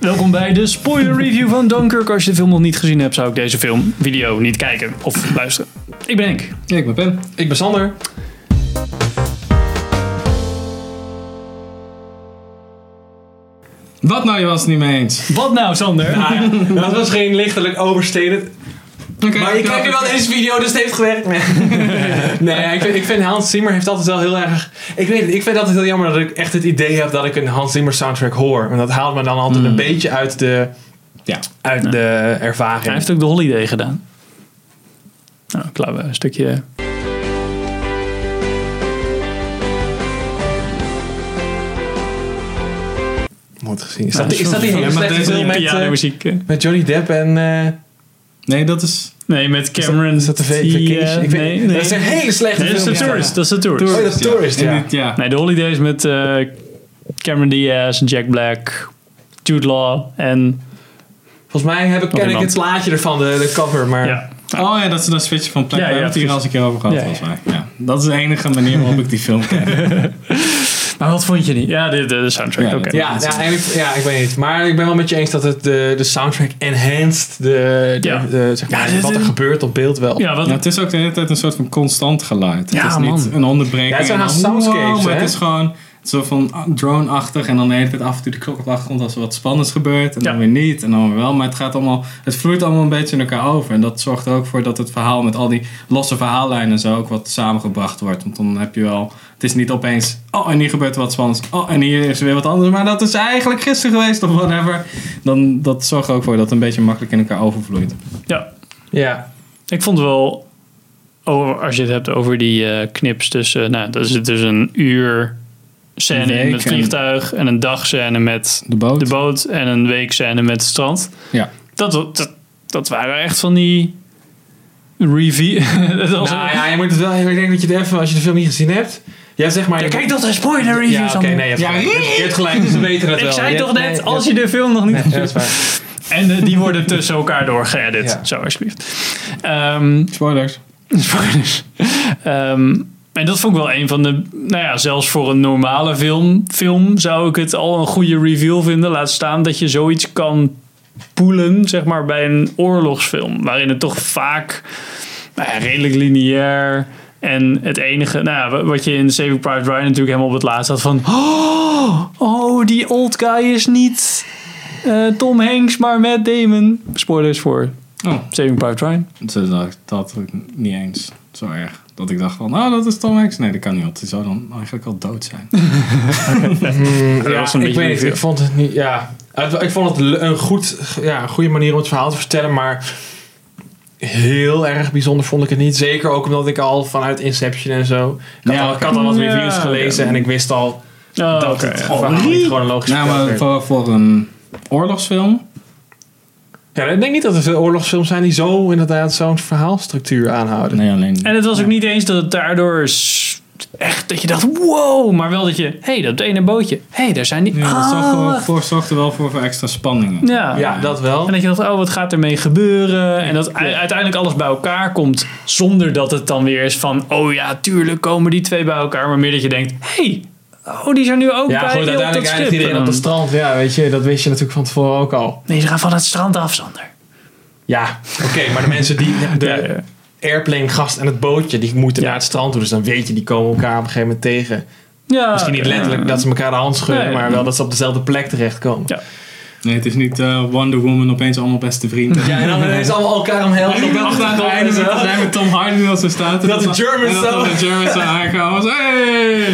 Welkom bij de spoiler review van Dunkirk. Als je de film nog niet gezien hebt, zou ik deze film, video niet kijken of luisteren. Ik ben Henk. Ik ben Ben. Ik ben Sander. Wat nou, je was het niet mee eens. Wat nou, Sander? Ah, dat was geen lichtelijk oversteden. Oké, Maar ik kijk nu wel deze video, dus het heeft gewerkt. Nee, nee ik, vind, ik vind Hans Zimmer heeft altijd wel heel erg... Ik weet het, ik vind altijd heel jammer dat ik echt het idee heb dat ik een Hans Zimmer soundtrack hoor. En dat haalt me dan Mm. altijd een beetje uit de, Ja. uit de ervaring. Hij heeft ook de holiday gedaan. Nou, ik laat wel een stukje. Moet gezien. Is Nou, dat, is dat die ja, hele maar slechte deze film met, eh, pianomuziek, eh. met Johnny Depp en... eh Nee, dat is... Nee, met Cameron. is dat de va- die, eh, Vacation? Ik weet- nee, nee. Dat is een hele slechte Nee, dat is film. de ja. tourist. Dat is de tourist. Oh, dat is Tourist, ja. In dit- ja. Nee, de holiday is met eh, Cameron Diaz, Jack Black, Jude Law en... Volgens mij heb ik, ken ik iemand. het plaatje ervan, de, de cover. Maar Ja. Oh ja, dat ze dan switchen van plek. Ja, We hebben ja, het hier al eens een keer over gehad, Ja, volgens mij. Ja. Dat is de enige manier waarop ik die film ken. Maar wat vond je niet? Ja, de, de, de soundtrack. Ja, Oké. dat- Ja, ja, en ik, ja, ik weet niet. Maar ik ben wel met je eens dat het de, de soundtrack enhanced de, de, Ja. de- zeg maar, Ja, dit- wat er gebeurt op beeld wel. Ja, wat, Ja, het is ook de hele tijd een soort van constant geluid. Ja, het is man. niet een onderbreking. Ja, het zijn en haast dan, soundscapes, maar hè? het is gewoon zo van ah, drone-achtig. En dan de hele tijd af en toe de klok op de achtergrond als er wat spannends gebeurt. En Ja. dan weer niet. En dan weer wel. Maar het gaat allemaal... Het vloeit allemaal een beetje in elkaar over. En dat zorgt er ook voor dat het verhaal met al die losse verhaallijnen en zo ook wat samengebracht wordt. Want dan heb je wel... Het is niet opeens... Oh, en hier gebeurt er wat spannends. Oh, en hier is weer wat anders. Maar dat is eigenlijk gisteren geweest of whatever. Dan, dat zorgt er ook voor dat het een beetje makkelijk in elkaar overvloeit. ja, Ja. ik vond wel... Over, als je het hebt over die eh, knips tussen... Nou, dat is dus een uur Een scène week in het en- vliegtuig... en een dag scène met De boot. de boot... en een week scène met het strand. Ja. Dat, dat, dat waren echt van die... Review. dat was Nou een- ja, je moet het wel. Ik denk dat je het even, als je de film niet gezien hebt. Ja, zeg maar. Ja, kijk, dat zijn spoiler reviews. Ja, oké, allemaal. nee, je hebt Ja, gelijk. Je hebt- je hebt gelijk, dus we weten het Ik wel. zei Je toch hebt- net, nee, als ja. je de film nog niet... Nee, dat is waar. En eh, die worden tussen elkaar doorgeëdit. Ja. Zo, alsjeblieft. Ehm, Spoilers. spoilers. Ehm, en dat vond ik wel een van de... Nou ja, zelfs voor een normale film, film zou ik het al een goede reveal vinden. Laat staan dat je zoiets kan poelen, zeg maar, bij een oorlogsfilm. Waarin het toch vaak nou ja, redelijk lineair... En het enige, nou ja, wat je in Saving Private Ryan natuurlijk helemaal op het laatst had van... Oh, oh die old guy is niet eh, Tom Hanks, maar Matt Damon. Spoilers voor Oh. Saving Private Ryan. Ze dacht dat ik niet eens zo erg. Dat ik dacht van, nou dat is Tom Hanks. Nee, dat kan niet, want die zou dan eigenlijk al dood zijn. Eh, Ja, was een ik beetje weet niet. veel. Ik vond het niet. Ja, Het- ik vond het le- een, goed, ja, een goede manier om het verhaal te vertellen, maar heel erg bijzonder vond ik het niet. Zeker ook omdat ik al vanuit Inception en zo. Ik had, Ja, al, ik had al wat oké. reviews Ja, gelezen en ik wist al Oh, dat oké, het ja. verhaal niet chronologisch nou, verteld maar werd. voor, voor een oorlogsfilm. Ja, ik denk niet dat er veel oorlogsfilms zijn die zo inderdaad zo'n verhaalstructuur aanhouden. Nee, alleen... En het was ook niet eens dat het daardoor s- echt dat je dacht, wow, maar wel dat je, hé, hey, dat ene bootje, hé, hey, daar zijn die. Ja, dat Ah, zorgde, wel wacht. voor, zorgde wel voor, voor extra spanningen. ja. Ja, dat wel. En dat je dacht, oh, wat gaat ermee gebeuren? En dat u- uiteindelijk alles bij elkaar komt. Zonder dat het dan weer is van, oh ja, tuurlijk komen die twee bij elkaar. Maar meer dat je denkt, hey, oh, die zijn nu ook Ja, bij goed, die op dat uiteindelijk eindigt schip. En iedereen op dan- het strand. Ja, weet je, dat wist je natuurlijk van tevoren ook al. Nee, ze gaan van het strand af, Sander. Ja, oké, maar de mensen die... De Ja, ja. airplane gast en het bootje, die moeten naar het strand toe. Dus dan weet je, die komen elkaar op een gegeven moment tegen. Ja, Misschien niet Ah, oké. letterlijk dat ze elkaar de hand schudden, Nee. maar wel dat ze op dezelfde plek terechtkomen. Ja. Nee, het is niet eh, Wonder Woman opeens allemaal beste vrienden. Ja, en dan ineens allemaal elkaar omhelzen. Ik dacht aan het einde met- dat zijn met Tom Hardy dat ze staat. En Dat de Germans en dat zo- dan de Germans zo aankomen. Zo, Hey!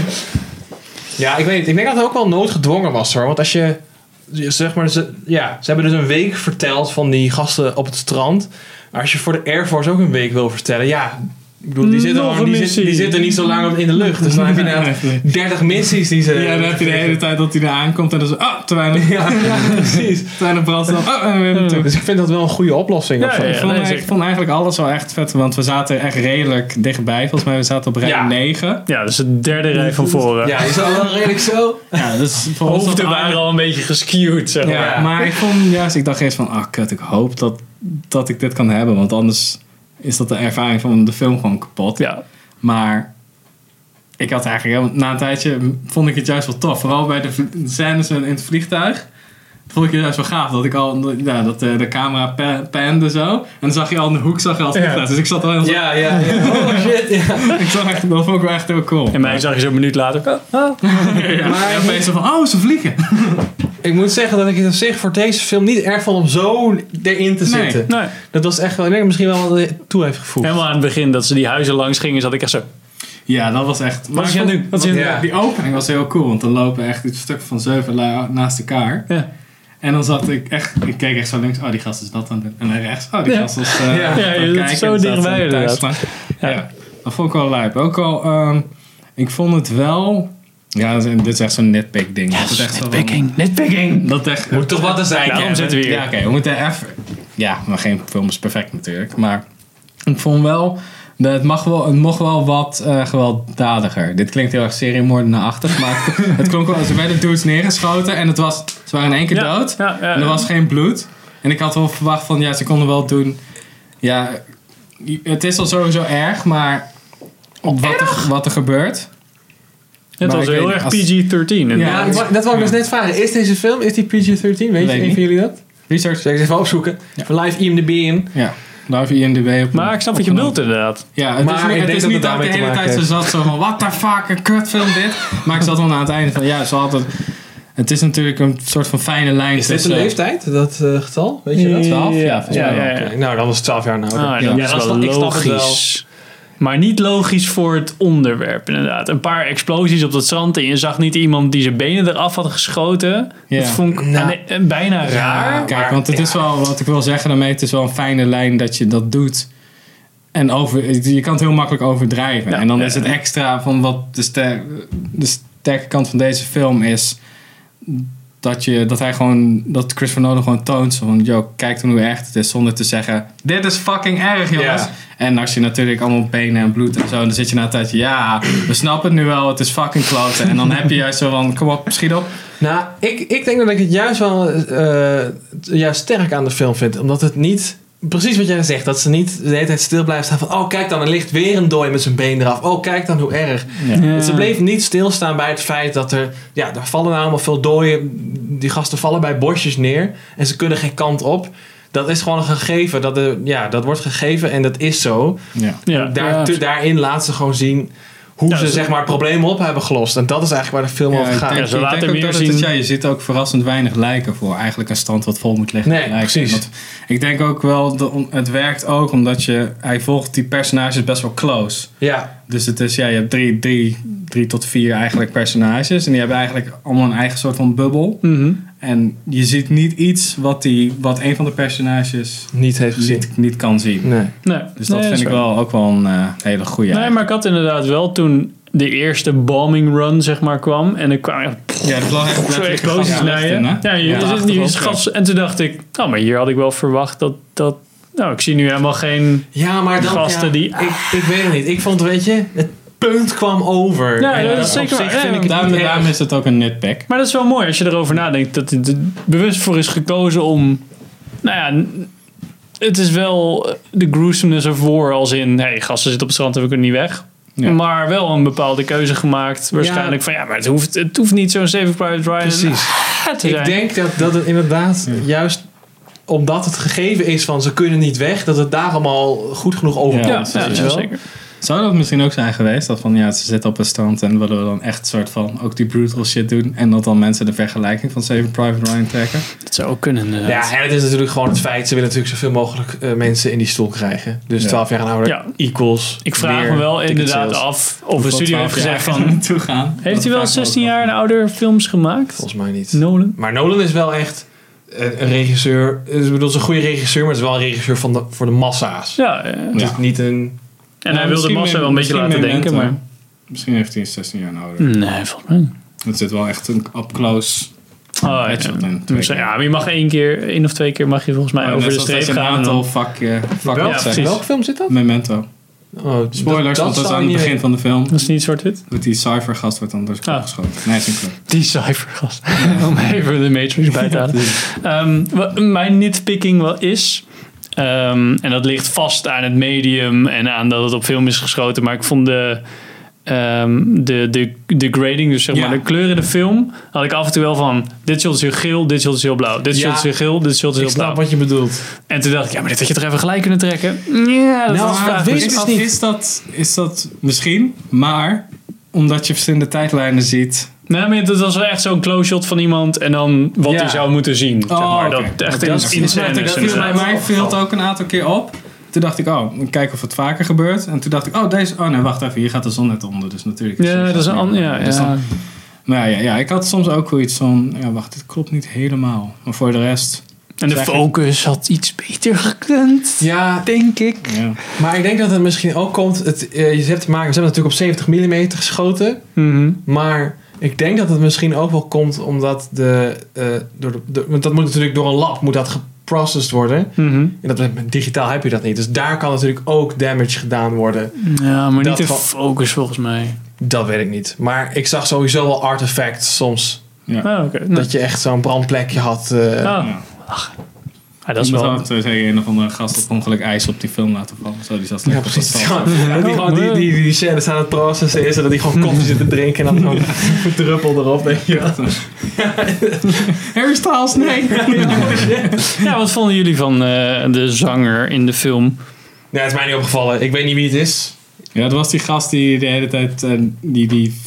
Ja, ik weet het. Ik denk dat het ook wel noodgedwongen was hoor. Want als je, je- zeg maar, ze, ja, ze hebben dus een week verteld van die gasten op het strand. Als je voor de Air Force ook een week wil vertellen, ja. Ik bedoel, die zitten, Nog al, een die, zit, missie. die zitten niet zo lang op- in de lucht. Dus dan heb je inderdaad Nee. 30 missies die ze. Ja, dan heb je de hele tijd dat hij er aankomt en dan zo... Ah, te weinig, Ja, ja, precies. te weinig brandstof. Oh, en weer Hmm. naartoe. Dus ik vind dat wel een goede oplossing. Ja, of zo. ja, Ik vond, nee, eigenlijk- zeker. ik vond eigenlijk alles wel echt vet, want we zaten echt redelijk dichtbij. Volgens mij we zaten op rij Ja. 9. ja, dus het derde rij van voren. Ja, is dat wel redelijk zo? Ja, dus voor ons Hoofden dat waren aardig. al een beetje geskewd, zeg maar. Ja, Ja. Maar ik vond juist, ik dacht eerst van, ah kut, ik hoop dat, dat ik dit kan hebben. Want anders is dat de ervaring van de film gewoon kapot. Ja, Maar ik had eigenlijk, helemaal- na een tijdje vond ik het juist wel tof. Vooral bij de vl- scènes in het vliegtuig. vond ik juist wel gaaf dat ik al ja, dat eh, de camera pa- pande zo. En dan zag je al in de hoek zag je al het Ja. vliegtuig. Dus ik zat al heel Ja, ja, ja. Oh shit, ja. ik zag echt, dat vond ik wel echt heel cool. En mij zag je zo'n minuut later. oh, oh. ja, Maar- maar opeens zo van, oh, ze vliegen. Ik moet zeggen dat ik het op zich voor deze film niet erg vond om zo erin te Nee. zitten. Nee. Dat was echt wel, ik denk misschien wel wat het toe heeft gevoegd. Helemaal aan het begin dat ze die huizen langs gingen, zat ik echt zo. Ja, dat was echt... Wat is je aan het doen? Wat is je aan het Ja. Die opening was heel cool, want dan lopen echt een stuk van zeven lui naast elkaar. doen? Ja. En dan zat ik echt, ik keek echt zo links, oh die gast is dat aan het doen. En dan rechts, oh die Ja. gast was eh Ja, aan het ja, dat is zo En dan zaten dichtbij ze aan het thuis. Ja. dat vond ik wel lijp. Ook al, ehm, ik vond het wel, ja dat is- dit is echt zo'n nitpick ding. dat is echt zo van- Nitpicking. Dat echt, Moet toch wat er zijn, Daarom hè? zitten we hier. Ja, oké, we moeten even. Ja, maar geen film is perfect natuurlijk. Maar ik vond wel. dat Het, mag wel, het mocht wel wat eh, gewelddadiger. Dit klinkt heel erg seriemoordenaarachtig, maar het, het klonk wel. Ze werden dudes neergeschoten en het was, ze waren in één keer Ja, dood. ja, ja, en er ja. was geen bloed. En ik had wel verwacht van, ja, ze konden wel doen. Ja, het is al sowieso erg, maar wat er, wat er gebeurt. Het Maar was ik heel weet erg niet, als- PG-13. inderdaad. Ja, ik wou- dat wou ik dus net vragen. Is deze film, is die PG-13? Weet je, ik een niet. van jullie dat? Research. Zeg eens even opzoeken. Even Live IMDb in. Ja, daar heb je IMDb op. Maar ik snap wat je opgenomen. bedoelt inderdaad. Ja, het Maar is niet, ik het denk is dat niet het dat ik de daarmee te hele tijd maken zo zat zo van, what the fuck, een kutfilm dit. Maar ik zat dan aan het einde van, ja, ze hadden... Het is natuurlijk een soort van fijne lijn Is dit een tussen- leeftijd, dat eh, getal? Weet je dat? Ja, Twaalf? volgens mij wel. ja, ja. Oké, nou, dan is het 12 jaar en ouder. Ah, dat is wel ik snap het wel. logisch. Maar niet logisch voor het onderwerp, inderdaad. Een paar explosies op dat strand en je zag niet iemand die zijn benen eraf had geschoten. Ja. Dat vond ik Nou. eh, bijna raar. Ja, Ah, kijk, want het is wel, wat ik wil zeggen daarmee, het is wel een fijne lijn dat je dat doet. En over, je kan het heel makkelijk overdrijven. Ja. en dan Ja. is het extra van wat de, ster- de sterke kant van deze film is. Dat, je, dat hij gewoon, dat Chris van Nolan gewoon toont. zo Van, yo, kijk dan hoe erg het is. Zonder te zeggen, dit is fucking erg, jongens. Ja. En als je natuurlijk allemaal benen en bloed en zo. Dan zit je na een tijdje, ja, we snappen het nu wel. Het is fucking kloten. En dan heb je juist zo van, kom op, schiet op. Nou, ik, ik denk dat ik het juist wel eh, juist sterk aan de film vind. Omdat het niet... Precies wat jij zegt. Dat ze niet de hele tijd stil blijven staan van... Oh, kijk dan, er ligt weer een dooi met zijn been eraf. Oh, kijk dan hoe erg. Ja. Ze bleef niet stilstaan bij het feit dat er... Ja, daar vallen nou allemaal veel dooien. Die gasten vallen bij bosjes neer. En ze kunnen geen kant op. Dat is gewoon een gegeven. Dat, er, ja, dat wordt gegeven en dat is zo. Ja. Ja. Daar, Ja. te- daarin laat ze gewoon zien... Hoe Ja, ze ze- zeg maar problemen op hebben gelost. En dat is eigenlijk waar de film Ja, over ik gaat. denk- Ja, ze ik laten denk ook meer dat het is, zien. ja, je ziet ook verrassend weinig lijken voor eigenlijk een stand wat vol moet liggen. Nee, met lijken. precies. Want ik denk ook wel, dat on- het werkt ook omdat je, hij volgt die personages best wel close. Ja, Dus het is, ja, je hebt drie, drie, drie tot vier eigenlijk personages. En die hebben eigenlijk allemaal een eigen soort van bubbel. Mhm. En je ziet niet iets wat, die, wat een van de personages niet heeft gezien. niet, niet kan zien. Nee. Nee. Dus dat Nee, vind is ik waar. wel ook wel een eh, hele goede. Nee, maar ik had inderdaad wel toen de eerste bombing run, zeg maar, kwam. En er kwamen echt ja, dat was echt Zo'n letterlijk explosies gas left in, hè? leiden. Ja, je, dus Op de je- je- je- achtergrond, gas- en toen dacht ik, nou, maar hier had ik wel verwacht dat, dat nou, ik zie nu helemaal geen... Ja, maar Die dan, gasten ja, die- Ik, ik weet het niet. Ik vond, weet je, het punt kwam over. Ja, En eh, dat is op zeker zich waar. vind Ja, ik ja. het Daarom, niet daarom erg. is het ook een nitpick. Maar dat is wel mooi als je erover nadenkt dat het er bewust voor is gekozen om, nou ja, n- het is wel eh, de gruesomeness of war als in, hé, hey, gasten zitten op het strand en we kunnen niet weg. Ja. Maar wel een bepaalde keuze gemaakt. Waarschijnlijk van ja, maar het hoeft, het hoeft niet zo'n Saving Private Ryan. Precies. ah, te Ik zijn. denk dat, dat het inderdaad juist omdat het gegeven is van ze kunnen niet weg, dat het daarom al goed genoeg overkomt. ja, dat ja, weet je ja, wel. zeker. Zou dat misschien ook zijn geweest? Dat van ja, ze zitten op een stand en willen we dan echt soort van ook die brutal shit doen. En dat dan mensen de vergelijking van Saving Private Ryan trekken. Dat zou ook kunnen. inderdaad. Ja, en het is natuurlijk gewoon het feit, ze willen natuurlijk zoveel mogelijk eh, mensen in die stoel krijgen. Dus Ja. 12 jaar en ouder Ja. equals. Ik vraag meer me wel ticket inderdaad sales. af of een studio heeft gezegd van, naartoe gaan. Heeft hij wel 16 jaar en nou? ouder films gemaakt? Volgens mij niet. Nolan? Maar Nolan is wel echt een, een regisseur. eh, Ik bedoel, is een goede regisseur, maar het is wel een regisseur van de, voor de massa's. Ja, eh, Het Ja. is niet een en hij wilde massa wel een beetje laten denken, maar... Misschien heeft hij 16 jaar en ouder. Nee, volgens mij niet. Het zit wel echt een up close. Oh, ja. Headshot in, twee Dus, keer. ja, maar je mag één keer, één of twee keer mag je volgens mij Maar over Oh, de net zoals dat streep je een gaan. en dan- aantal fuck, eh, fuck Wel, ja, zegt. precies. Welke film zit dat? Memento. Oh, Spoilers, want dat is zou aan het niet begin van de film. Dat is niet zwart-wit? Met die cypher gast wordt dan door zijn kop Ah. geschoten. Nee, zijn club. Die cijfergast. Om even de Matrix bij te halen. Ehm, wat mijn nitpicking wel is... ehm, en dat ligt vast aan het medium en aan dat het op film is geschoten. Maar ik vond de, ehm, de, de, de grading, dus zeg Ja. maar de kleur in de film, had ik af en toe wel van dit shot is heel geel, dit shot is heel blauw, dit Ja. shot is heel geel, dit shot is Ik heel blauw. snap wat je bedoelt. En toen dacht ik, ja, maar dit had je toch even gelijk kunnen trekken? Ja, dat Nou, was maar vaag. weet Dus- ik is, dus dat, niet. is, dat, is dat misschien, maar omdat je verschillende tijdlijnen ziet. Nee, maar dat was wel echt zo'n close shot van iemand en dan wat Ja. hij zou moeten zien. zeg maar. oké. Dat echt in, Maar dat- in dat- scènes Dat viel inderdaad. bij mij viel het ook een aantal keer op. Toen dacht ik, oh, kijk of het vaker gebeurt. En toen dacht ik, oh, deze, oh nee, wacht even, hier gaat de zon net onder. Dus natuurlijk. is Ja, het- dat is een ander. Ja, Dus dan- ja. Maar ja, ja, ik had soms ook zoiets van, ja, wacht, dit klopt niet helemaal. Maar voor de rest, En de Zeg ik- focus had iets beter gekund, Ja, denk ik. ja. maar ik denk dat het misschien ook komt. Het, eh, je hebt te maken, ze hebben natuurlijk op 70 mm geschoten. Mhm. Maar ik denk dat het misschien ook wel komt omdat de, eh, door de, de- want dat moet natuurlijk door een lab moet dat geprocessed worden. Mhm. En dat, met digitaal heb je dat niet. Dus daar kan natuurlijk ook damage gedaan worden. Ja, maar Dat niet de van- focus volgens mij. Dat weet ik niet. Maar ik zag sowieso wel artefacts soms. Ah, oké. Nou, Dat je echt zo'n brandplekje had. eh, ah. ja. Ah, dat is Ik moet wel... altijd zeggen, een of andere gast op ongeluk ijs op die film laten vallen. Zo, die zat Ja, lekker op precies. dat Ja, valt. dat die, gewoon die, die, die scènes aan het processen is en dat die gewoon koffie zit te drinken en dan zo'n druppel erop. Denk je. wel. Harry Styles, nee! Ja, wat vonden jullie van eh, de zanger in de film? Nee, het is mij niet opgevallen. Ik weet niet wie het is. Ja, dat was die gast die de hele tijd eh, die, die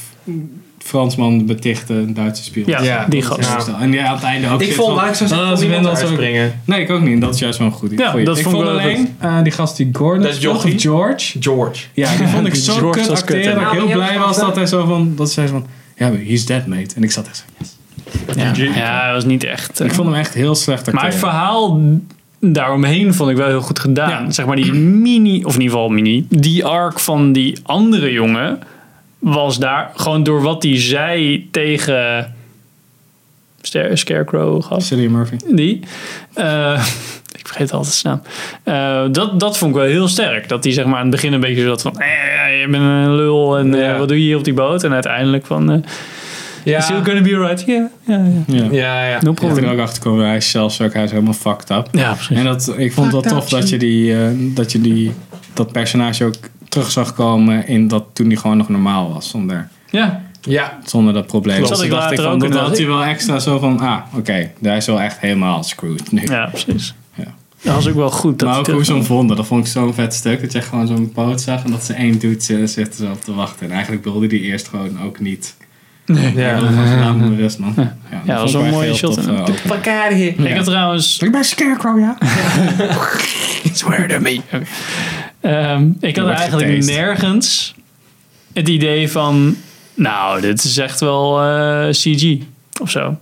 Fransman betichtte, een Duitse spion. Ja, Ja, die Dat gast. is Ja, zo. En ja, aan het einde ook. Ik shit vond van, Mike zo ah, zeggen ze niemand vinden ons ook- uitspringen. Nee, ik ook niet. Dat is juist wel een goed Ja, goeie. dat ik vond vond ik wel alleen eh, die gast die Gordon Dat is speelt, Jochie. George. George. Ja, die vond ik zo George kut was kut, hè? acteren. Dat ik heel Ja, maar blij die was was dat hij zo van, dat zei ze van, ja, maar he's dead mate. En ik zat echt zo. ja. dat was niet echt... eh, Ik vond hem echt heel slecht acteren. maar het verhaal daaromheen vond ik wel heel goed gedaan. Ja. Zeg maar die mini... Of in ieder geval mini. Die arc van die andere jongen was daar gewoon door wat hij zei tegen... Star- Scarecrow gast. Cillian Murphy. Die. eh, ik vergeet altijd zijn naam. Eh, dat, dat vond ik wel heel sterk. Dat hij zeg maar aan het begin een beetje zo zat van... Eh, je bent een lul en eh, Ja. wat doe je hier op die boot? En uiteindelijk van... eh Is it Ja, gonna be alright? Ja, ja, ja. Ja. ja, ja. No Ja, toen problem. er ook achter kwam, hij is zelfs ook, hij is helemaal fucked up. Ja, precies. En dat, ik vond het wel tof dat je, die, eh, dat je die, dat personage ook terug zag komen in dat toen hij gewoon nog normaal was. Zonder, Ja, ja. zonder dat probleem. Klopt. Dus Zat ik dacht later van, ook dat in, had dat hij wel extra zo van, ah, oké, daar hij is wel echt helemaal screwed nu. ja precies. Ja. Dat was ook wel goed. Dat maar ook hij hoe ze terug- hem vonden, dat vond ik zo'n vet stuk. Dat je echt gewoon zo'n poot zag en dat ze één dude zit- zit er zo op te wachten. En eigenlijk wilde die eerst gewoon ook niet. Ja, ja. dat was laat me rust, man. Ja, dat was vond ik wel een echt mooie heel shot, tof, hè? eh, ook. Pak haar hier. Ik had trouwens... Ik ben Scarecrow, ja. Swear to me. Oké. Ehm, ik had wordt eigenlijk getased. nergens het idee van... Nou, dit is echt wel eh, CG of zo. Nou,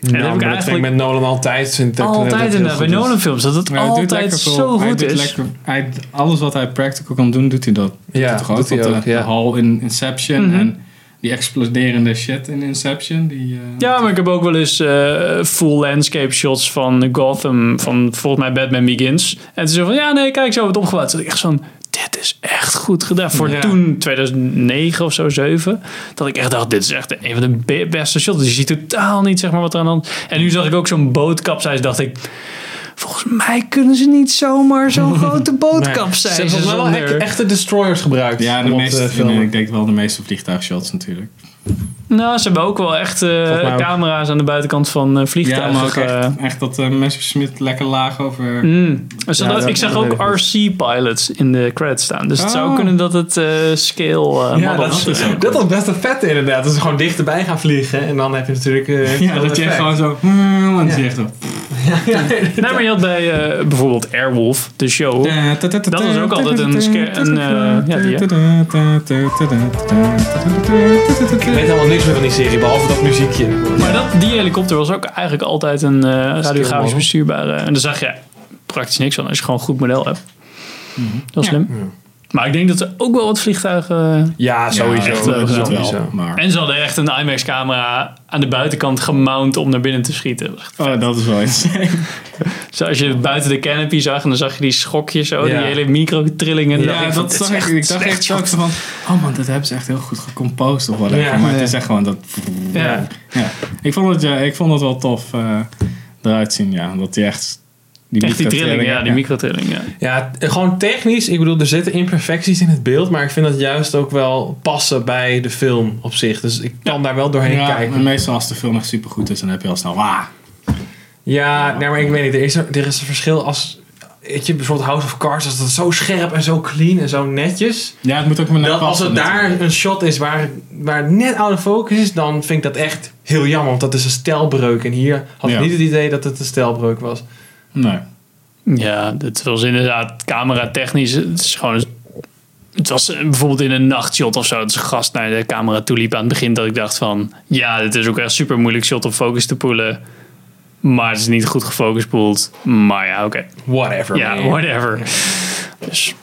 heb ik maar dat vind ik eigenlijk- met Nolan altijd. Vind ik dat- eh, dat Altijd heel inderdaad. Bij goed is. Nolan films. Dat het Maar hij doet altijd lekker veel- zo hij goed doet is. lekker- hij, alles wat hij practical kan doen, doet hij dat. Ja, doet hij doet hij ook, de, ja. de hal in Inception en die exploderende shit in Inception. Die, eh, Ja, maar ik heb ook wel eens eh, full landscape shots van Gotham. Van volgens mij Batman Begins. En toen zo van, ja nee, kijk, zo wordt het opgebouwd. Toen dacht ik echt zo'n, dit is echt goed gedaan. Voor Ja. toen, 2009 of zo, 7. Dat ik echt dacht, dit is echt een van de be- beste shots. Dus je ziet totaal niet, zeg maar, wat er aan de hand En nu zag ik ook zo'n bootkapseis. Dacht ik, volgens mij kunnen ze niet zomaar zo'n grote Ze bootkapseis. hebben volgens mij wel zonder- echte, echte destroyers gebruikt. Ja, de om op meeste, te filmen. nee, ik denk wel de meeste vliegtuigshots natuurlijk. Nou, ze hebben ook wel echt eh, mij ook. camera's aan de buitenkant van eh, vliegtuigen. Ja, maar ook eh, echt, echt dat uh, Messerschmitt lekker laag over... Mm. Dus Ja, dat- dat- ik zag dat ook weet ik RC-pilots in de credits staan. Dus het zou Oh. kunnen dat het eh, scale eh Ja, dat, dus models is, zijn. dat was best een vette inderdaad. Dat ze gewoon dichterbij gaan vliegen. En dan heb je natuurlijk... eh, Ja, veel dat je echt effect. gewoon zo... hmm, En je echt zo... Nee, maar je had bij eh, bijvoorbeeld Airwolf, de show. Dat was ook altijd een scare- een, eh, ja, die, hè. Ik weet helemaal niks meer van die serie, behalve dat muziekje. Maar dat, die helikopter was ook eigenlijk altijd een eh, radiografisch model. bestuurbare. En daar zag je praktisch niks van als je gewoon een goed model hebt. Mhm. Dat was Ja. slim. Maar ik denk dat er ook wel wat vliegtuigen... Ja, Ja, echt dat wel, is dat sowieso. wel, maar... En ze hadden echt een IMAX-camera aan de buitenkant gemount om naar binnen te schieten. Oh, dat is wel iets. Zo als je buiten de canopy zag en dan zag je die schokjes zo, Ja. die hele microtrillingen. Ja, dat zag ik. Ik dacht echt ook zo van, oh man, dat hebben ze echt heel goed gecomposed of whatever. Ja. maar Ja. het is echt gewoon dat... Ja. Ja. Ik, vond het, ja, ik vond het wel tof eh, eruit zien, ja. Dat die echt Die Echt die trilling, ja, die microtrilling. microtrilling. Ja. Ja, t- gewoon technisch. Ik bedoel, er zitten imperfecties in het beeld. Maar ik vind dat juist ook wel passen bij de film op zich. Dus ik kan daar wel doorheen Ja, kijken. maar meestal als de film echt supergoed is, dan heb je al snel... Wah, Ja, nee, maar ik weet niet. Er is, er er is een verschil als... Weet je, bijvoorbeeld House of Cards. Als dat zo scherp en zo clean en zo netjes. Ja, het moet ook maar net Dat als passen het daar natuurlijk. een shot is waar, waar het net out of focus is, dan vind ik dat echt heel jammer. Want dat is een stijlbreuk. En hier had ik Ja. niet het idee dat het een stijlbreuk was. Nee. Ja, het was inderdaad cameratechnisch. Het is gewoon. Het was eh, bijvoorbeeld in een nachtshot of zo. Dat een gast naar de camera toe liep aan het begin. Dat ik dacht van. Ja, dit is ook echt super moeilijk shot om focus te poelen. Maar het is niet goed gefocust Maar ja, oké. Whatever. Ja, man. whatever. Dus.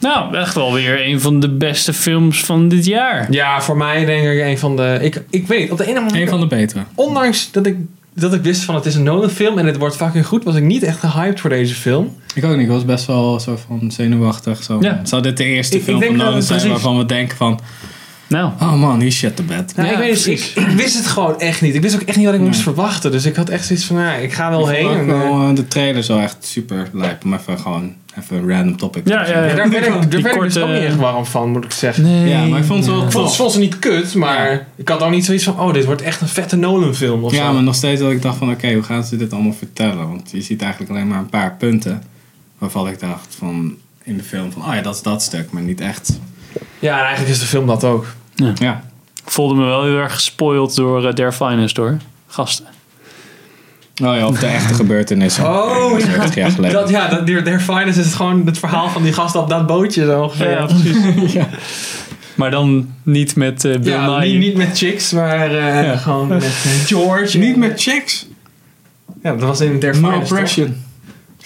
Nou, echt wel weer een van de beste films van dit jaar. Ja, voor mij denk ik een van de... Ik, ik weet niet, op de ene manier... Een van de betere. ondanks dat ik, dat ik wist van het is een Nolan film en het wordt fucking goed, was ik niet echt gehyped voor deze film. Ik ook niet. Ik was best wel zo van zenuwachtig. Zo. Ja. Zou dit de eerste Ik- ik film denk van dat Nolan het zijn precies- waarvan we denken van... Nou, Oh man, hier shit the bed. Nou, Ja, ik, weet, niet, precies. ik, ik wist het gewoon echt niet. Ik wist ook echt niet wat ik moest verwachten. Dus ik had echt zoiets van, ja, ik ga wel Ik heen. vond ook en, eh, wel, eh, de trailer zo echt super lijp. Om even gewoon even een random topic Ja, te ja, ja, zeggen. daar die werd ik, daar korte- werd ik dus ook niet echt warm van, moet ik zeggen. nee. Ja, maar ik vond het wel Ik vond, het- tof. vond ze niet kut, maar ik had ook niet zoiets van, oh, dit wordt echt een vette Nolan film of Ja, zo. maar nog steeds dat ik dacht van... Oké, hoe gaan ze dit allemaal vertellen? Want je ziet eigenlijk alleen maar een paar punten. Waarvan ik dacht van... In de film van... Oh ja, dat is dat stuk. Maar niet echt... Ja, en eigenlijk is de film dat ook. Ja. Ik voelde me wel heel erg gespoild door eh Their Finest, hoor. Gasten. Oh ja, of de echte gebeurtenissen. Oh, ja. 40 jaar geleden. Dat, ja, dat, die- Their Finest is het gewoon het verhaal van die gasten op dat bootje zo ongeveer. Ja, Ja, precies. Ja. Maar dan niet met eh Bill Nye. niet, niet met chicks, maar eh, gewoon met eh, George. Niet met chicks. Ja, dat was in Their No Finest, toch? oppression.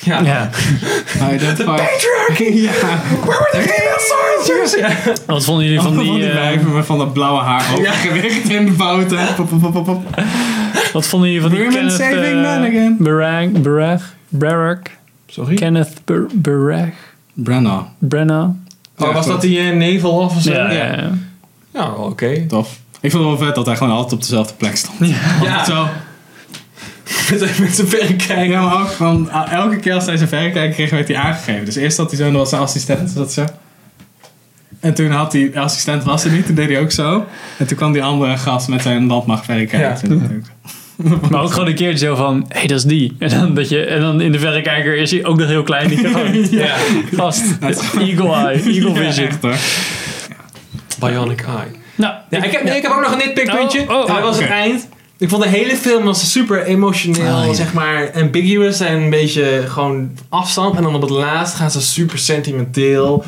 Ja. Ja. I don't fight. Patriarchy! Ja. Where were the female soldiers? Ja. Wat vonden jullie Oh, van die, eh, wijven met van dat blauwe haar Ja. overgewicht in de bouten. Pop, pop, pop, pop, pop. wat vonden jullie van die Women Kenneth saving men eh, again. Barag, Barag, Barak, Sorry? Kenneth Bar- Barag, Branagh. Brenna? Oh, was dat die eh, naval officer? Ja, ja, ja. Ja, wel oké. Tof. Ik vond het wel vet dat hij gewoon altijd op dezelfde plek stond. Ja. Zo. Met zijn verrekijker. Ja, maar ook van ah, elke keer als hij zijn verrekijker kreeg, werd hij aangegeven. Dus eerst had hij zo en dan was zijn assistent. Dat zo. En toen had hij, de assistent was er niet, toen deed hij ook zo. En toen kwam die andere gast met zijn landmachtverrekijker. Ja. Ja. Maar ook gewoon een keertje zo van, hé, hey, dat is die. En dan, dat je, en dan in de verrekijker is hij ook nog heel klein. Die kan gewoon- Ja. gast, eagle eye, eagle vision. echt hoor. Bionic Eye. Nou, Ja, ik heb, nee, ik heb ook nog een nitpickpuntje. Oh, oh, Hij was oké. het eind. Ik vond de hele film was super emotioneel, Ah, ja. zeg maar, ambiguous en een beetje gewoon afstand. En dan op het laatst gaan ze super sentimenteel.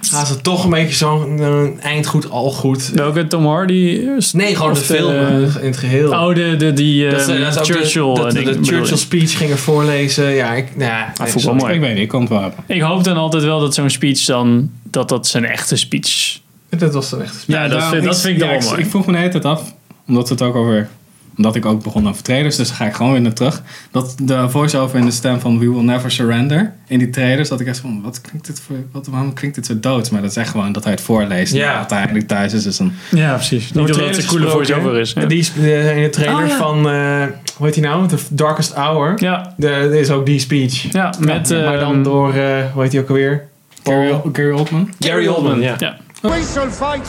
Gaan ze toch een beetje zo'n eh, eind goed, al goed. welke Tom Hardy? Nee, gewoon de, Of film eh, in het geheel. Oh, de, de, die Dat ze- eh, dat ze ook de- Churchill. dat ze ding, de bedoel Ah, Churchill ik. speech gingen voorlezen. Ja, ik, nou, ja, vond ik wel mooi. Ik weet niet, ik kan het wel hebben. Ik hoop dan altijd wel dat zo'n speech dan, dat dat zijn echte speech. Dat was een echt Ja, dat, daarom- vind, dat vind ik dan ja, wel mooi. Ik vroeg me de hele tijd af, omdat we het ook over omdat ik ook begon over trailers, dus daar ga ik gewoon weer naar terug. Dat de voice-over in de stem van We Will Never Surrender in die trailers, dat ik echt van, wat klinkt dit voor, wat, waarom klinkt dit zo dood? Maar dat is echt gewoon dat hij het voorleest. Ja. en Dat hij eigenlijk thuis is. Dus een, Ja, precies. Niet Over omdat het een coole trailers voice-over is. Ja. Die is eh, in de trailer Oh, ja. van, eh, hoe heet die nou? The Darkest Hour. ja, De, er is ook die speech. ja, met... Ja, maar dan ehm, door, eh, hoe heet die ook alweer? Gary, Gary Oldman. Gary Oldman, ja. ja. We shall fight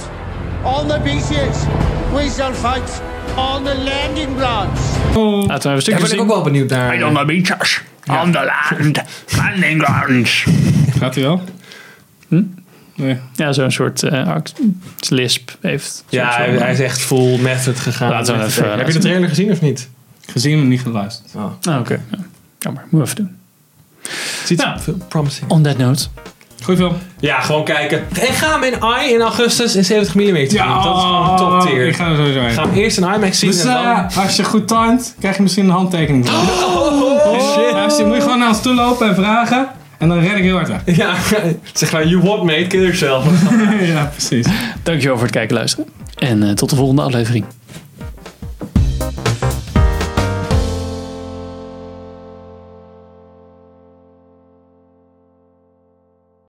on the beaches. We shall fight on the landing grounds. Laten we even een Daar stukje ben ik ook zien. wel benieuwd naar. on the beaches, on the land, landing grounds. Gaat hij wel? Hm? Nee. Ja, zo'n soort eh, act- lisp heeft. Ja, Zo'n hij, soort- hij is echt full method gegaan. Laten we Met even- de- Heb je de trailer gezien of niet? Gezien maar niet geluisterd. Ah, oké. Ja. Jammer, moet even doen. Ziet Nou. veel promising. On that note. Goed film. Ja, gewoon kijken. En ga hem in I in augustus in 70 mm zien. dat is oh, gewoon top tier. Ik Ga ga er sowieso heen. hem eerst in IMAX zien Dus en dan... eh, als je goed timed, krijg je misschien een handtekening. van. Oh. Ja, als je- moet je gewoon naar ons toe lopen en vragen. En dan red ik heel hard weg. Ja, zeg maar, you what mate, kill yourself. ja, precies. Dankjewel voor het kijken en luisteren. En eh, tot de volgende aflevering.